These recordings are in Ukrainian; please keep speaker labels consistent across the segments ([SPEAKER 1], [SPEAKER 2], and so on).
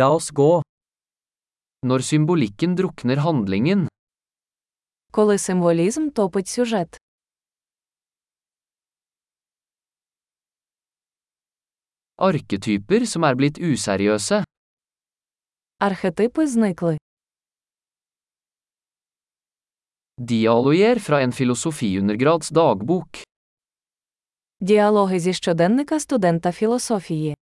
[SPEAKER 1] La oss gå. Når symbolikken drukner handlingen,
[SPEAKER 2] Коли символізм топить сюжет,
[SPEAKER 1] arketyper som er blitt useriøse,
[SPEAKER 2] архетипи зникли.
[SPEAKER 1] dialoger fra en filosofiundergrads dagbok,
[SPEAKER 2] Діалоги зі щоденника студента філософії.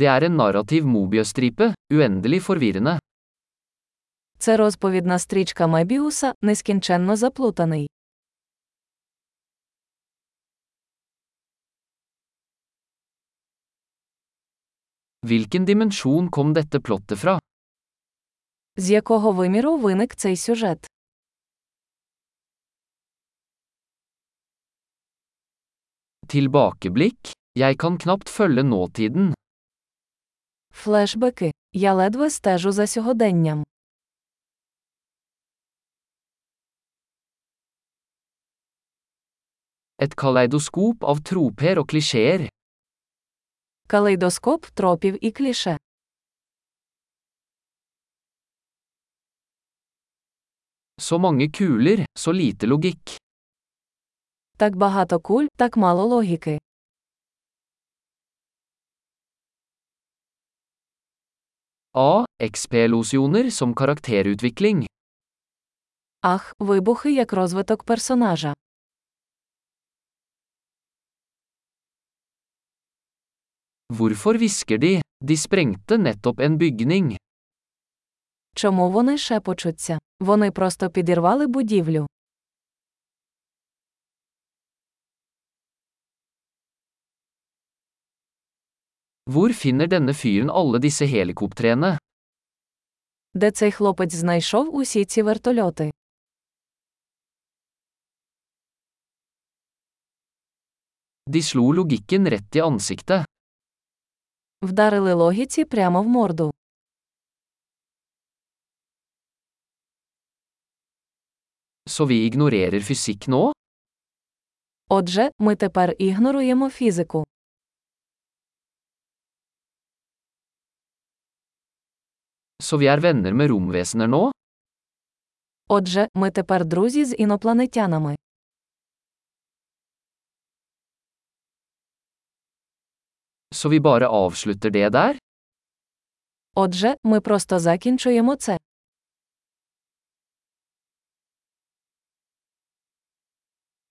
[SPEAKER 1] det er en narrativ mobiøstripe, uendelig forvirrende.
[SPEAKER 2] Це розповідна стрічка Мебіуса, нескінченно заплутаний.
[SPEAKER 1] Hvilken dimensjon kom dette plottet fra?
[SPEAKER 2] З якого виміру виник цей сюжет?
[SPEAKER 1] Tilbakeblikk, jeg kan knapt følge nåtiden,
[SPEAKER 2] Флешбеки. Я ледве стежу за сьогоденням.
[SPEAKER 1] et kaleidoskop av troper og klisjeer,
[SPEAKER 2] Калейдоскоп тропів і кліше.
[SPEAKER 1] så mange kuler, så lite logikk.
[SPEAKER 2] Так багато куль, так мало логіки.
[SPEAKER 1] A. XP-losjoner som karakterutvikling.
[SPEAKER 2] Ах, вибухи як розвиток персонажа.
[SPEAKER 1] Hvorfor hvisker de? De sprengte nettopp en bygning.
[SPEAKER 2] Чому вони шепочуться? Вони просто підірвали будівлю.
[SPEAKER 1] Hvor finner denne fyren alle disse helikoptrene?
[SPEAKER 2] Де цей хлопець знайшов усі ці вертольоти?
[SPEAKER 1] De slo logikken rett i ansiktet.
[SPEAKER 2] Вдарили логіці прямо в морду.
[SPEAKER 1] Så vi ignorerer fysikk nå?
[SPEAKER 2] Отже, ми тепер ігноруємо фізику.
[SPEAKER 1] Så vi er venner med romvesener nå?
[SPEAKER 2] Отже, ми тепер друзі з інопланетянами.
[SPEAKER 1] Så vi bare avslutter det der?
[SPEAKER 2] Отже, ми просто закінчуємо це.